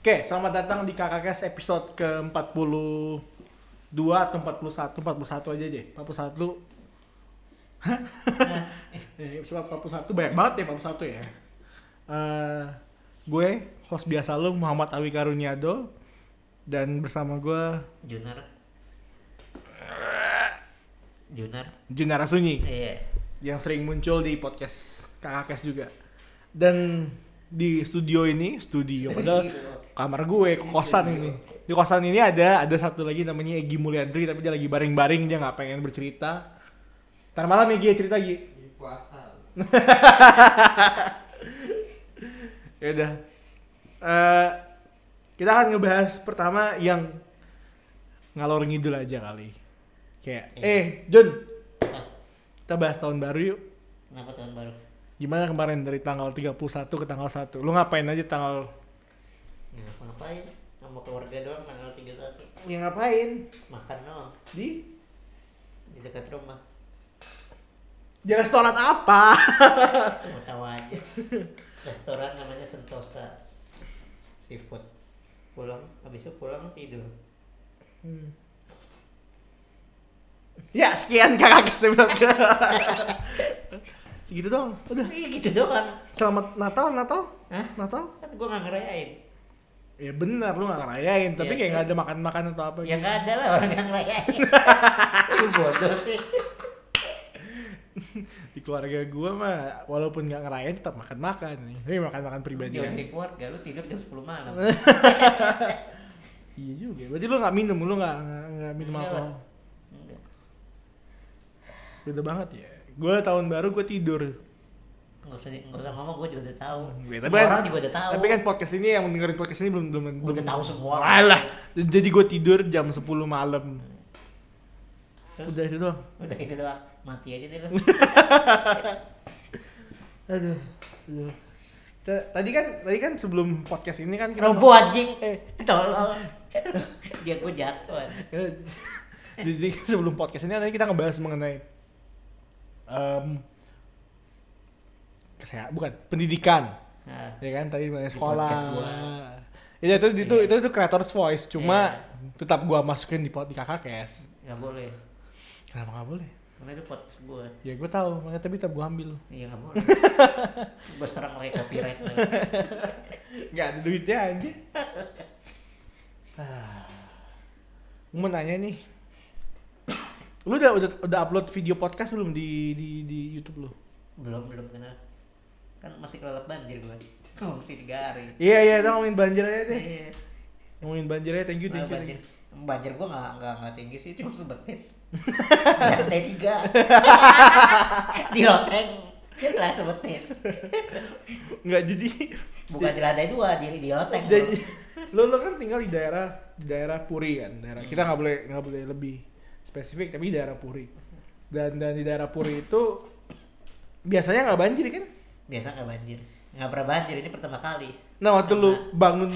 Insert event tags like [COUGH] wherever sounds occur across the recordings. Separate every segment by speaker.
Speaker 1: Oke, selamat datang di KKKS episode ke-42 atau 41, 41 aja deh, 41.
Speaker 2: Nah,
Speaker 1: [LAUGHS] Eh, episode 41, banyak banget ya 41 ya. Eh, gue, host biasa lo, Muhammad Awi Karuniado. Dan bersama gue,
Speaker 2: Junar. Junar.
Speaker 1: Junara Sunyi.
Speaker 2: Iya.
Speaker 1: yang sering muncul di podcast KKKS juga. Dan di studio ini, studio Iya,
Speaker 2: Iya,
Speaker 1: padahal kamar gue, kosan ini. Di kosan ini ada ada satu lagi namanya Egi Mulyantri tapi dia lagi baring-baring dia nggak pengen bercerita. Ntar malam Egi ya cerita Egi.
Speaker 3: Ini puasa.
Speaker 1: Ya udah. Eh, kita akan ngebahas pertama yang ngalor ngidul aja kali. Kayak, eh Jun,
Speaker 2: Nah,
Speaker 1: kita bahas tahun baru yuk.
Speaker 2: kenapa tahun baru?
Speaker 1: Gimana kemarin dari tanggal 31 ke tanggal 1? Lu ngapain aja tanggal
Speaker 2: Ngapa Ya, ngapain? Sama keluarga doang tanggal 31.
Speaker 1: Ya ngapain?
Speaker 2: Makan doang
Speaker 1: Di?
Speaker 2: di dekat rumah.
Speaker 1: Di restoran apa?
Speaker 2: Mau tahu aja. Restoran namanya Sentosa. Seafood. Pulang, habis itu pulang tidur.
Speaker 1: ya sekian kakak [LAUGHS] episode ke Segitu dong, udah.
Speaker 2: Iya gitu doang.
Speaker 1: Selamat Natal, Natal,
Speaker 2: Hah?
Speaker 1: Natal.
Speaker 2: Kan gua nggak ngerayain.
Speaker 1: Ya benar lu gak ngerayain, tapi
Speaker 2: Iya,
Speaker 1: kayak gak
Speaker 2: terus?
Speaker 1: ada makan-makan atau apa
Speaker 2: Ya nggak ada lah orang yang
Speaker 1: [LAUGHS]
Speaker 2: ngerayain. Lu bodoh sih.
Speaker 1: Di keluarga gua mah walaupun gak ngerayain tetap makan-makan. Ini makan-makan pribadi
Speaker 2: Jauh
Speaker 1: kan.
Speaker 2: dari keluarga, lu tidur jam 10 malam.
Speaker 1: [LAUGHS] Iya juga. Berarti lu gak minum, lu gak, gak, gak minum
Speaker 2: Enggak
Speaker 1: alkohol.
Speaker 2: lah. Enggak.
Speaker 1: Beda banget ya. Gua tahun baru gua tidur.
Speaker 2: Nggak usah, nggak usah ngomong, gue juga udah tahu.
Speaker 1: Ya,
Speaker 2: semua orang juga udah tahu.
Speaker 1: Tapi kan podcast ini yang dengerin podcast ini belum belum belum
Speaker 2: udah tahu semua.
Speaker 1: Alah, jadi gue tidur jam 10 malam.
Speaker 2: Terus,
Speaker 1: Udah
Speaker 2: udah.
Speaker 1: itu doang.
Speaker 2: itu doang. Mati aja
Speaker 1: [LAUGHS]
Speaker 2: deh lu.
Speaker 1: Aduh. aduh. Ta- Tadi kan tadi kan sebelum podcast ini kan kita
Speaker 2: Robo anjing.
Speaker 1: Eh.
Speaker 2: Tolol. [LAUGHS] Dia gue jatuh. anjing.
Speaker 1: [LAUGHS] jadi sebelum podcast ini kan tadi kita ngebahas mengenai em kesehatan bukan pendidikan
Speaker 2: Nah,
Speaker 1: ya kan tadi mengenai
Speaker 2: Di
Speaker 1: sekolah
Speaker 2: podcast gua.
Speaker 1: ya itu itu
Speaker 2: Iya.
Speaker 1: itu itu creators voice cuma tetap gua masukin di pot di kakak kes
Speaker 2: nggak boleh.
Speaker 1: kenapa nggak boleh
Speaker 2: Karena itu podcast gue.
Speaker 1: ya gue tahu makanya tapi tetap gue ambil
Speaker 2: Iya nggak
Speaker 1: [LAUGHS]
Speaker 2: boleh. gue serang lagi copyright lagi.
Speaker 1: nggak ada duitnya aja gue mau nanya nih lu udah udah udah upload video podcast belum di di di YouTube lu
Speaker 2: Belum belum kena. Kan masih kelelep banjir gue. [LAUGHS] Masih tiga hari.
Speaker 1: iya iya kita ngomongin banjir aja deh
Speaker 2: Iya.
Speaker 1: ngomongin banjir aja thank you
Speaker 2: Nah,
Speaker 1: thank you,
Speaker 2: banjir.
Speaker 1: thank you.
Speaker 2: Banjir gue nggak nggak nggak tinggi sih, cuma
Speaker 1: [LAUGHS]
Speaker 2: sebetis. Lantai tiga. di loteng. Lah sebetis.
Speaker 1: nggak jadi
Speaker 2: Bukan di lantai dua, di di loteng.
Speaker 1: jadi [LAUGHS] lu lu kan tinggal di daerah di daerah Puri kan daerah kita nggak boleh nggak boleh lebih spesifik tapi di daerah Puri dan dan di daerah Puri itu biasanya nggak banjir kan
Speaker 2: Biasa nggak banjir. Nggak pernah banjir ini pertama kali.
Speaker 1: Nah waktu lu bangun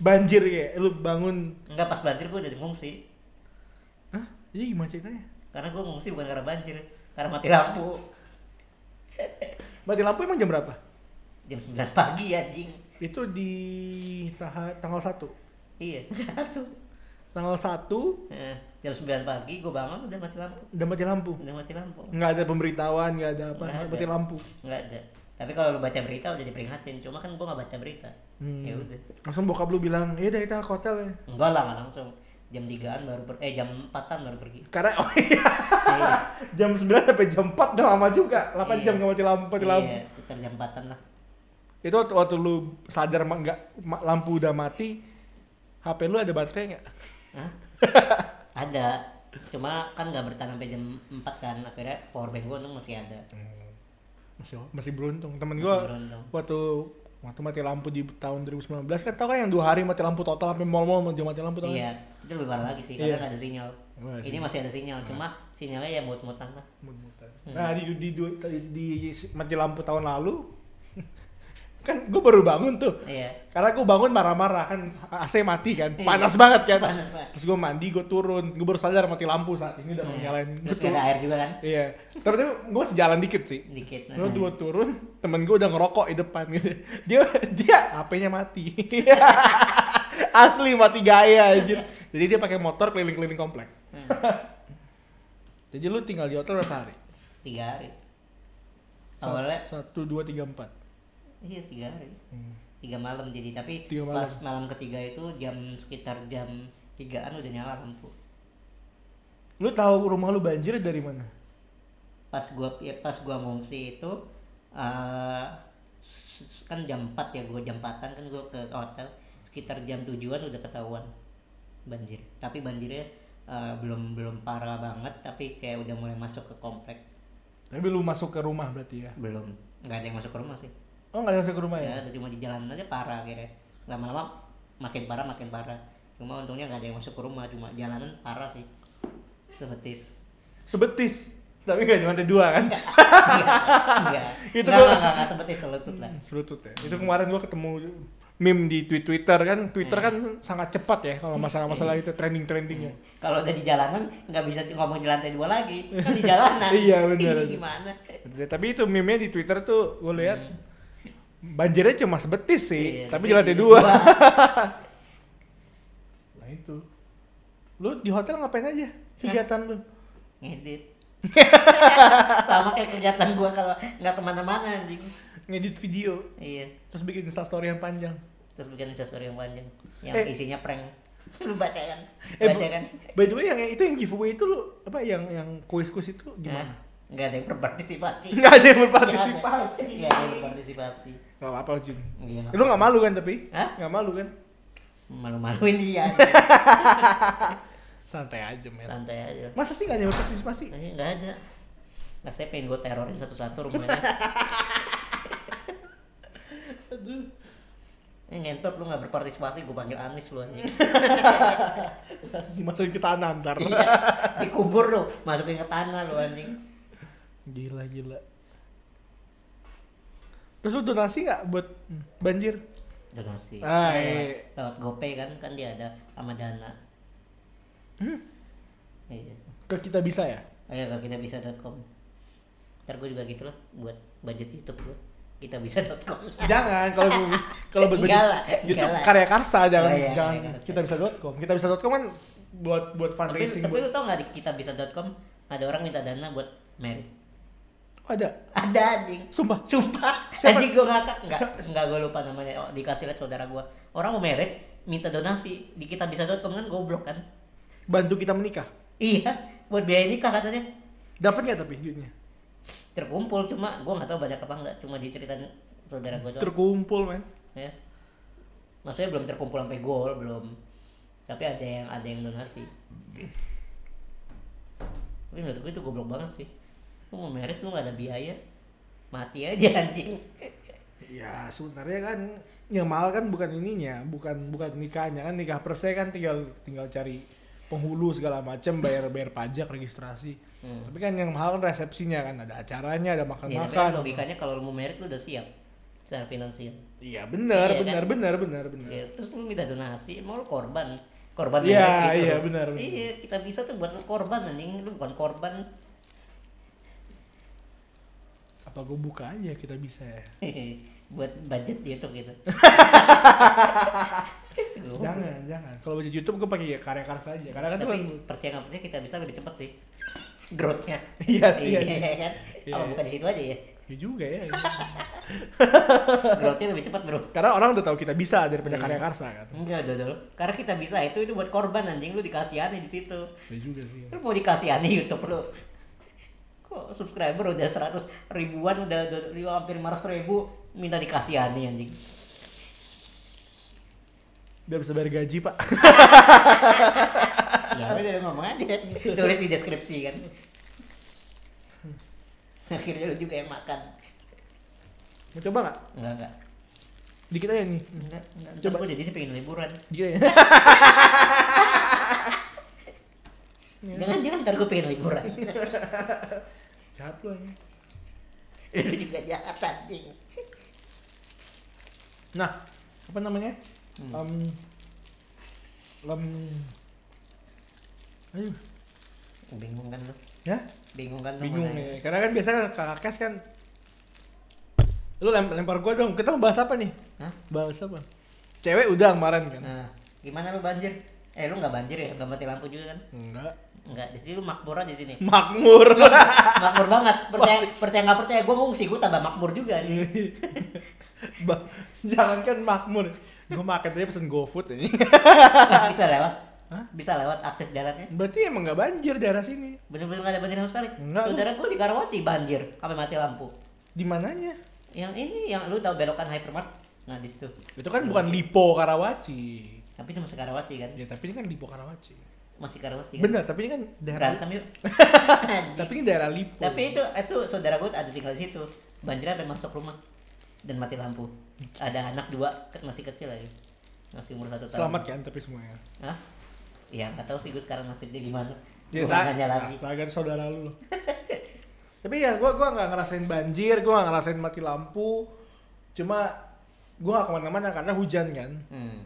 Speaker 1: banjir ya, lu bangun,
Speaker 2: Nggak pas banjir gue udah ngungsi.
Speaker 1: hah? Jadi gimana ceritanya?
Speaker 2: Karena gue ngungsi bukan karena banjir, karena mati lampu.
Speaker 1: Mati lampu emang jam berapa?
Speaker 2: Jam 9 pagi anjing.
Speaker 1: Itu di taha- tanggal 1
Speaker 2: Iya, [LAUGHS] satu.
Speaker 1: Tanggal 1
Speaker 2: Nah, jam 9 pagi gue bangun udah mati lampu.
Speaker 1: udah mati lampu
Speaker 2: Udah mati lampu.
Speaker 1: Nggak ada pemberitahuan, nggak ada apa,
Speaker 2: Nggak ada.
Speaker 1: mati lampu
Speaker 2: Nggak ada. Tapi kalau lu baca berita udah diperingatin, cuma kan gue nggak baca berita.
Speaker 1: Hmm.
Speaker 2: Ya udah.
Speaker 1: Langsung bokap lu bilang, iya dah kita ke hotel ya
Speaker 2: Enggak lah, nggak langsung. Jam 3-an baru per eh jam 4-an baru pergi.
Speaker 1: Karena, oh [LAUGHS] iya,
Speaker 2: Iya.
Speaker 1: jam 9 sampai jam 4 udah lama juga 8
Speaker 2: Iya.
Speaker 1: jam nggak mati lampu, mati lampu
Speaker 2: Iya, sekitar jam 4-an lah.
Speaker 1: Itu waktu, waktu lu sadar ma- nggak ma- lampu udah mati HP lu ada baterai nggak? [LAUGHS]
Speaker 2: Hah? ada. Cuma kan nggak bertahan sampai jam 4 kan. Akhirnya power bank gue untung masih ada.
Speaker 1: masih masih beruntung temen
Speaker 2: Masih
Speaker 1: gue
Speaker 2: beruntung.
Speaker 1: waktu waktu mati lampu di tahun 2019 kan tau kan yang dua hari mati lampu total sampai mall-mall mati mati lampu tau kan?
Speaker 2: Iya, itu lebih parah lagi sih karena
Speaker 1: Iya.
Speaker 2: nggak ada sinyal.
Speaker 1: Nggak ada
Speaker 2: Ini
Speaker 1: sinyal. Nah.
Speaker 2: masih ada sinyal, cuma sinyalnya ya mut-mutan lah.
Speaker 1: Mut-mutan.
Speaker 2: Hmm.
Speaker 1: nah di, di, di, di, mati lampu tahun lalu [LAUGHS] kan gue baru bangun tuh
Speaker 2: Iya.
Speaker 1: karena gue bangun marah-marah kan AC mati kan
Speaker 2: Iya.
Speaker 1: panas banget kan
Speaker 2: Panas banget.
Speaker 1: terus gue mandi gue turun gue baru sadar mati lampu saat ini udah mau
Speaker 2: Iya.
Speaker 1: nyalain Gua
Speaker 2: Terus nggak ada
Speaker 1: turun.
Speaker 2: air juga kan?
Speaker 1: iya tapi gue sejalan dikit sih
Speaker 2: Dikit.
Speaker 1: Lo
Speaker 2: Nah.
Speaker 1: dua turun, temen gue udah ngerokok di depan gitu. Dia dia HP-nya mati. [LAUGHS] Asli mati gaya anjir. Jadi dia pakai motor keliling-keliling komplek.
Speaker 2: Nah.
Speaker 1: Jadi lu tinggal di hotel berapa hari?
Speaker 2: tiga hari
Speaker 1: Sat-
Speaker 2: awalnya
Speaker 1: Satu, dua, tiga, empat.
Speaker 2: iya tiga hari tiga malam jadi tapi
Speaker 1: Tiga malam.
Speaker 2: pas malam ketiga itu jam sekitar jam tigaan udah nyala lampu
Speaker 1: Lu tahu rumah lu banjir dari mana?
Speaker 2: pas gua ya, pas gua ngungsi itu eh, s- s- kan jam 4 ya gua jam 4-an kan gua ke hotel sekitar jam tujuan udah ketahuan banjir tapi banjirnya eh, belum belum parah banget tapi kayak udah mulai masuk ke komplek
Speaker 1: Tapi lu masuk ke rumah berarti ya?
Speaker 2: belum nggak ada yang masuk ke rumah sih
Speaker 1: Oh nggak ada yang masuk ke rumah ya?
Speaker 2: ya ada cuma di jalan aja parah akhirnya lama-lama makin parah makin parah cuma untungnya nggak ada yang masuk ke rumah cuma jalanan parah sih sebetis
Speaker 1: [LAUGHS] Sebetis. Tapi nggak cuma ada dua kan?
Speaker 2: iya
Speaker 1: Itu
Speaker 2: itu
Speaker 1: gua-
Speaker 2: nggak nggak nggak sebetis selutut lah
Speaker 1: Serutut ya. Itu kemarin gua ketemu meme di tweet Twitter kan. Twitter kan sangat cepat ya kalau masalah-masalah itu trending-trendingnya.
Speaker 2: kalau udah di jalanan nggak bisa ngomong di lantai dua lagi kan di jalanan
Speaker 1: [LAUGHS] Iya, benar.
Speaker 2: Ih, [LAUGHS] gimana Hmm.
Speaker 1: Tapi itu meme-nya di Twitter tuh gue lihat banjirnya cuma sebetis sih,
Speaker 2: Iya,
Speaker 1: tapi di lantai dua. [LAUGHS]
Speaker 2: dua.
Speaker 1: Nah itu. Lu di hotel ngapain aja kegiatan lu?
Speaker 2: ngedit [LAUGHS] sama kayak kegiatan gua kalau nggak kemana-mana anjing
Speaker 1: Ngedit video,
Speaker 2: iya
Speaker 1: terus bikin instastory yang panjang.
Speaker 2: terus bikin sesuatu yang panjang yang
Speaker 1: Eh.
Speaker 2: isinya prank [LAUGHS] lu kan? bacakan
Speaker 1: Eh, bu-
Speaker 2: bacakan
Speaker 1: By the way yang itu yang giveaway itu lu apa yang yang kuis-kuis itu
Speaker 2: Hah?
Speaker 1: gimana?
Speaker 2: Nggak ada yang berpartisipasi.
Speaker 1: Nggak ada yang berpartisipasi.
Speaker 2: Nggak ada yang berpartisipasi.
Speaker 1: Gak apa-apa Jun.
Speaker 2: Iya.
Speaker 1: Lu gak malu kan tapi?
Speaker 2: Hah?
Speaker 1: Gak malu kan?
Speaker 2: Malu-maluin dia.
Speaker 1: Santai aja men.
Speaker 2: Santai aja.
Speaker 1: Masa sih gak ada yang berpartisipasi?
Speaker 2: Tapi nggak ada. Nah, saya pengen gue terorin satu-satu rumahnya.
Speaker 1: Aduh.
Speaker 2: Ini Eh, ngentot lu nggak berpartisipasi, gue panggil Anis lu anjing.
Speaker 1: [LAUGHS] Dimasukin ke tanah ntar.
Speaker 2: Iya. Dikubur lu, masukin ke tanah lu anjing.
Speaker 1: Gila gila. Terus lu donasi nggak buat banjir?
Speaker 2: Donasi.
Speaker 1: Ah,
Speaker 2: Lewat-
Speaker 1: iya.
Speaker 2: Lewat GoPay kan, kan dia ada sama Dana.
Speaker 1: Hmm?
Speaker 2: Iya.
Speaker 1: Ke kita bisa ya?
Speaker 2: Ayo ke kita bisa.com. Ntar gue juga gitu lah buat budget YouTube gue. Kita bisa.com.
Speaker 1: Jangan
Speaker 2: [LAUGHS]
Speaker 1: kalau bu- kalau buat
Speaker 2: Enggak lah, enggak
Speaker 1: YouTube
Speaker 2: lah.
Speaker 1: karya karsa jangan
Speaker 2: Oh, iya,
Speaker 1: jangan
Speaker 2: karya karsa.
Speaker 1: kita bisa .com. Kita bisa .com kan buat buat
Speaker 2: tapi,
Speaker 1: fundraising
Speaker 2: tapi
Speaker 1: buat.
Speaker 2: lu tau gak di kitabisa.com ada orang minta dana buat merit
Speaker 1: Oh, ada.
Speaker 2: ada anjing
Speaker 1: Sumpah.
Speaker 2: sumpah
Speaker 1: Siapa?
Speaker 2: anjing gue ngakak nggak
Speaker 1: Sa-
Speaker 2: nggak gue lupa namanya oh, dikasih lihat saudara gue orang mau merit minta donasi di kitabisa.com kan goblok kan
Speaker 1: Bantu kita menikah.
Speaker 2: iya buat biaya nikah katanya
Speaker 1: Dapat nggak tapi duitnya?
Speaker 2: terkumpul cuma gue nggak tahu banyak apa enggak cuma diceritain saudara gue doang
Speaker 1: Terkumpul men.
Speaker 2: ya maksudnya belum terkumpul sampai gol belum tapi ada yang ada yang donasi tapi menurut gue itu goblok banget sih lu mau merit lu gak ada biaya mati aja anjing
Speaker 1: Ya sebenarnya kan yang mahal kan bukan ininya, bukan bukan nikahnya kan nikah persnya kan tinggal tinggal cari penghulu segala macam bayar bayar pajak registrasi.
Speaker 2: Hmm.
Speaker 1: Tapi kan yang mahal kan resepsinya kan ada acaranya, ada
Speaker 2: ya, tapi kan
Speaker 1: makan-makan.
Speaker 2: logikanya kalau lu mau merit lu udah siap secara finansial
Speaker 1: Iya benar,
Speaker 2: Iya, kan?
Speaker 1: benar, benar, benar, benar.
Speaker 2: ya, terus lu minta donasi mau lu korban korban
Speaker 1: Iya,
Speaker 2: merit gitu
Speaker 1: iya, benar, benar.
Speaker 2: iya kita bisa tuh buat lu korban anjing lu bukan korban
Speaker 1: Apa gue buka aja kita bisa ya?
Speaker 2: buat budget di YouTube gitu
Speaker 1: [LAUGHS]
Speaker 2: Oh.
Speaker 1: Jangan, jangan. Kalau baca YouTube gue pakai ya karya karsa aja. Karena kan tuh
Speaker 2: tapi
Speaker 1: kan
Speaker 2: percaya nggak percaya kita bisa lebih cepat sih growth-nya
Speaker 1: Iya sih,
Speaker 2: iya
Speaker 1: iya.
Speaker 2: kan
Speaker 1: Iya,
Speaker 2: apa
Speaker 1: iya.
Speaker 2: bukan di situ aja ya
Speaker 1: ya juga ya.
Speaker 2: growth-nya lebih cepat bro
Speaker 1: Karena orang udah tahu kita bisa daripada
Speaker 2: Iya.
Speaker 1: karya karsa kan.
Speaker 2: enggak dodol karena kita bisa itu itu buat korban anjing lu dikasihani di situ
Speaker 1: Ya juga sih.
Speaker 2: lu mau dikasihani YouTube lu kok subscriber udah 100 ribuan udah, udah lima- hampir 500 ribu minta dikasihani anjing
Speaker 1: Biar bisa bayar gaji pak.
Speaker 2: [LAUGHS] ya udah ngomong aja tulis di deskripsi kan akhirnya lu juga yang makan
Speaker 1: Mau coba nggak?
Speaker 2: enggak enggak
Speaker 1: Dikit aja nih.
Speaker 2: Enggak, enggak.
Speaker 1: Coba.
Speaker 2: Coba gue jadi pengen liburan.
Speaker 1: Dikit aja.
Speaker 2: [LAUGHS] Jangan jangan ntar gue pengen [LAUGHS] liburan.
Speaker 1: Jahat lu aja.
Speaker 2: Lu juga jahat anjing.
Speaker 1: Nah, apa namanya?
Speaker 2: Hmm.
Speaker 1: Um, um, aduh,
Speaker 2: Bingung kan lu?
Speaker 1: ya
Speaker 2: Bingung kan lu?
Speaker 1: bingung
Speaker 2: mau nanya?
Speaker 1: nih. Karena kan biasanya kakak kes kan, lu lem- lempar gua dong. Kita mau bahas apa nih?
Speaker 2: Hah?
Speaker 1: Bahas apa? Cewek udah kemarin kan.
Speaker 2: Nah, Gimana lu banjir? Eh lu nggak banjir ya? Nggak mati lampu juga kan?
Speaker 1: Enggak.
Speaker 2: Nggak, jadi lu makmur aja di [LAUGHS] sini.
Speaker 1: Makmur. [LAUGHS]
Speaker 2: makmur banget. Percaya percaya nggak percaya gue ngungsi gue tambah makmur juga [LAUGHS] nih.
Speaker 1: Ba- Jangankan makmur. Gue makan aja pesen GoFood ini. [LAUGHS]
Speaker 2: Nah, bisa lewat. Bisa lewat akses jalannya.
Speaker 1: Berarti emang nggak banjir daerah sini.
Speaker 2: Bener-bener nggak ada banjir sama sekali.
Speaker 1: Nggak, lu-
Speaker 2: Saudara gue di Karawaci banjir sampai mati lampu.
Speaker 1: Di mananya?
Speaker 2: Yang ini yang lu tahu belokan hypermart. Nah di situ.
Speaker 1: Itu kan bukan Lipo Karawaci.
Speaker 2: Tapi itu masih Karawaci kan?
Speaker 1: Ya tapi ini kan Lipo Karawaci.
Speaker 2: Masih Karawaci kan?
Speaker 1: Bener, tapi ini kan daerah.
Speaker 2: Berantem
Speaker 1: [LAUGHS]
Speaker 2: yuk. [LAUGHS]
Speaker 1: Tapi ini daerah Lipo.
Speaker 2: Tapi itu itu saudara gue ada tinggal di situ. Banjir sampai masuk rumah dan mati lampu. Ada anak dua ke- masih kecil lagi. Masih umur satu tahun.
Speaker 1: selamat kan tapi semuanya.
Speaker 2: Hah? Ya nggak tahu sih gue sekarang nasib dia gimana.
Speaker 1: Ya,
Speaker 2: Gue
Speaker 1: tak-
Speaker 2: nanya lagi.
Speaker 1: Astaga, itu saudara lu. [LAUGHS] loh. Tapi ya gua gua nggak ngerasain banjir, gua nggak ngerasain mati lampu. Cuma gua nggak kemana-mana karena hujan kan.
Speaker 2: Hmm,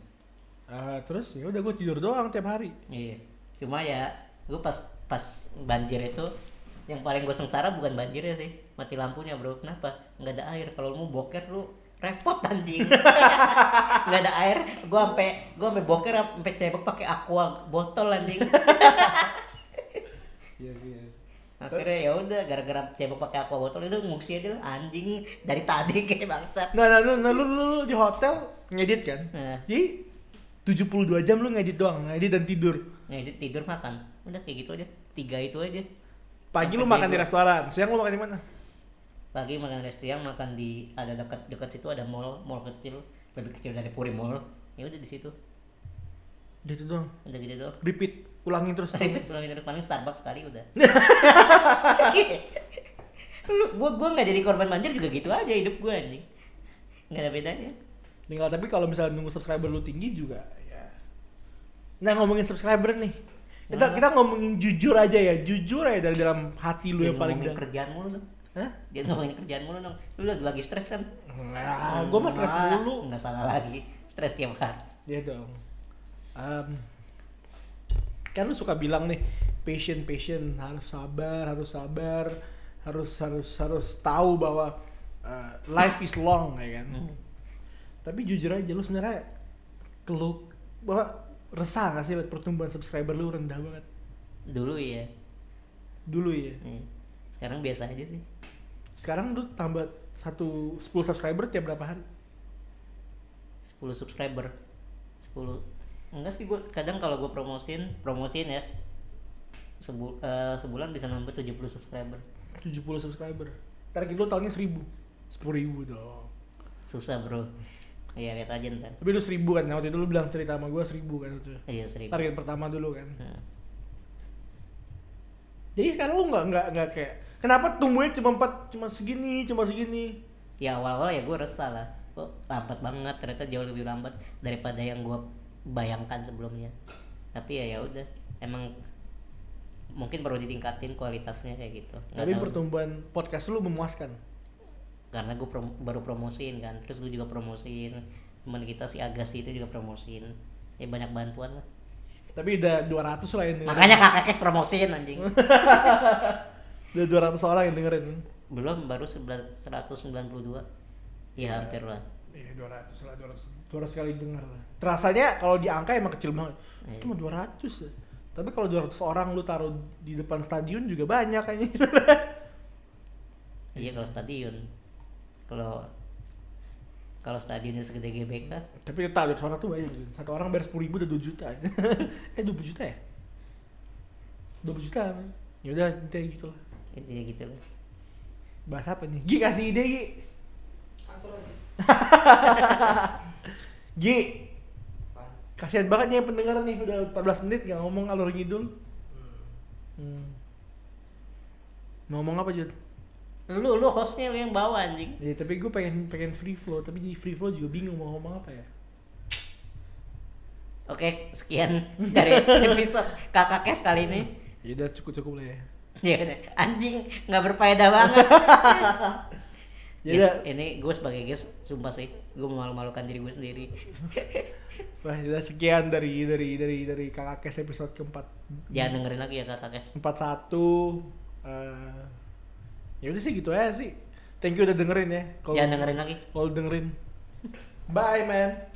Speaker 1: Ah, terus ya udah gua tidur doang tiap hari.
Speaker 2: iya. Cuma ya gue pas pas banjir itu yang paling gue sengsara bukan banjirnya sih mati lampunya bro kenapa nggak ada air kalau lu boker lu repot anjing [LAUGHS] nggak ada air gue sampai gue sampai boker sampai cebok pakai aqua botol anjing
Speaker 1: Iya iya.
Speaker 2: akhirnya ya udah gara-gara cebok pakai aqua botol itu ngungsi aja lah, anjing dari tadi kayak bangsat
Speaker 1: Nah, nah, lu, nah, lu, lu, lu di hotel ngedit kan?
Speaker 2: Nah.
Speaker 1: Jadi 72 jam lu ngedit doang, ngedit dan tidur.
Speaker 2: nah itu tidur makan udah kayak gitu aja tiga itu aja
Speaker 1: Pagi lu
Speaker 2: Sampai
Speaker 1: makan di
Speaker 2: tidur.
Speaker 1: restoran, siang lu makan di mana?
Speaker 2: pagi makan dari siang makan di ada dekat dekat situ ada mall mall kecil lebih kecil dari Puri Mall ya udah di situ
Speaker 1: Gitu doang.
Speaker 2: udah gitu doang
Speaker 1: Repeat, ulangin terus. [LAUGHS]
Speaker 2: ribet pulang gitu paling Starbucks sekali udah lu gua gua nggak jadi korban banjir juga gitu aja hidup gua anjing nggak ada bedanya
Speaker 1: Tinggal tapi kalau misalnya nunggu subscriber lu tinggi juga ya. Nah, ngomongin subscriber nih. Kita kita ngomongin jujur aja ya, jujur aja dari dalam hati lu yang
Speaker 2: Jangan
Speaker 1: paling
Speaker 2: Iya, ngomongin
Speaker 1: dalam.
Speaker 2: kerjaan mulu tuh
Speaker 1: Hah?
Speaker 2: dia ngomongin kerjaan mulu dong lu lagi, lagi stres kan
Speaker 1: Nah, gua mah stres dulu.
Speaker 2: nggak salah lagi stres tiap hari
Speaker 1: Iya dong. Em, kan lu suka bilang nih, patient patient harus sabar, harus sabar, harus harus harus tahu bahwa eh, life is long ya kan.
Speaker 2: Hmm.
Speaker 1: Tapi jujur aja lu sebenarnya keluh bahwa resah gak sih liat pertumbuhan subscriber lu rendah banget
Speaker 2: dulu ya
Speaker 1: dulu ya.
Speaker 2: Hmm. sekarang biasa aja sih
Speaker 1: Sekarang lu tambah satu 10 subscriber tiap berapa hari?
Speaker 2: 10 subscriber 10 enggak sih gue kadang kalau gue promosin promosin ya sebu eh, sebulan bisa nambah 70 subscriber
Speaker 1: 70 subscriber. Target lu tahunnya 1000. 10 ribu dong.
Speaker 2: susah bro iya lihat aja ntar
Speaker 1: Tapi lu 1000 kan, waktu itu lu bilang cerita sama gua 1000 kan waktu itu.
Speaker 2: iya seribu
Speaker 1: target pertama dulu kan
Speaker 2: Nah,
Speaker 1: jadi sekarang lu nggak nggak nggak kayak kenapa tumbuhnya cuma empat cuma segini cuma segini
Speaker 2: ya awal-awal ya gue resah lah kok lambat banget ternyata jauh lebih lambat daripada yang gue bayangkan sebelumnya tapi ya ya udah emang mungkin perlu ditingkatin kualitasnya kayak gitu Nggak
Speaker 1: tapi
Speaker 2: tahu.
Speaker 1: pertumbuhan podcast lu memuaskan
Speaker 2: karena gue baru promosiin kan terus gue juga promosiin teman kita si Agassi itu juga promosiin ya banyak bantuan lah
Speaker 1: tapi udah 200 lah yang dengerin
Speaker 2: makanya kakak kes promosiin anjing
Speaker 1: udah 200 orang yang dengerin
Speaker 2: belum baru 11 192 ya hampir lah
Speaker 1: iya 200 lah 200 200 kali denger lah terasanya kalau di angka emang kecil banget
Speaker 2: Iya.
Speaker 1: cuma 200 ya. tapi kalau 200 orang lu taruh di depan stadion juga banyak kayaknya
Speaker 2: iya kalau stadion kalau kalau stadionnya segede GBK
Speaker 1: [LAUGHS] tapi tetap 200 orang tuh banyak satu orang bayar 10 ribu udah 2 juta [LAUGHS] eh 20 juta ya 20 juta ya udah intinya gitu lah
Speaker 2: intinya gitu lah
Speaker 1: bahas apa nih? Gi kasih ide Gi. Gi, kasihan banget nih yang pendengar nih udah 14 menit gak ngomong alur ngidul. Hmm. Mau Ngomong apa Jud?
Speaker 2: lu lu hostnya lu yang bawa anjing
Speaker 1: Ya, tapi gue pengen pengen free flow, tapi di free flow juga bingung mau ngomong apa ya.
Speaker 2: oke sekian
Speaker 1: [LAUGHS]
Speaker 2: dari episode kakak kes kali ini
Speaker 1: Ya udah cukup cukup lah ya.
Speaker 2: ya udah. anjing nggak berfaedah banget
Speaker 1: Ya
Speaker 2: Guys,
Speaker 1: udah,
Speaker 2: ini gue sebagai guys, sumpah sih, gue memalu-malukan diri gue sendiri.
Speaker 1: wah ya udah sekian dari dari dari dari kakak kes episode keempat
Speaker 2: Jangan dengerin lagi ya kata Kes.
Speaker 1: empat satu. eh, ya udah sih gitu aja sih. Thank you udah dengerin ya. Kalau-
Speaker 2: Jangan dengerin lagi.
Speaker 1: Golden Rin. Bye, man.